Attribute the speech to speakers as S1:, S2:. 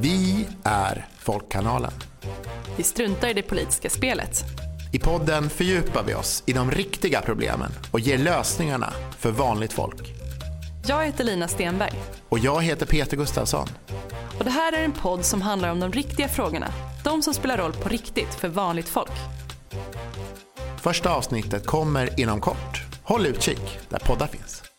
S1: Vi är Folkkanalen.
S2: Vi struntar i det politiska spelet.
S1: I podden fördjupar vi oss i de riktiga problemen och ger lösningarna för vanligt folk.
S2: Jag heter Lina Stenberg
S1: Och jag heter Peter Gustafsson.
S2: och det här är en podd som handlar om de riktiga frågorna. De som spelar roll på riktigt för vanligt folk.
S1: Första avsnittet kommer inom kort. Håll utkik där poddar finns.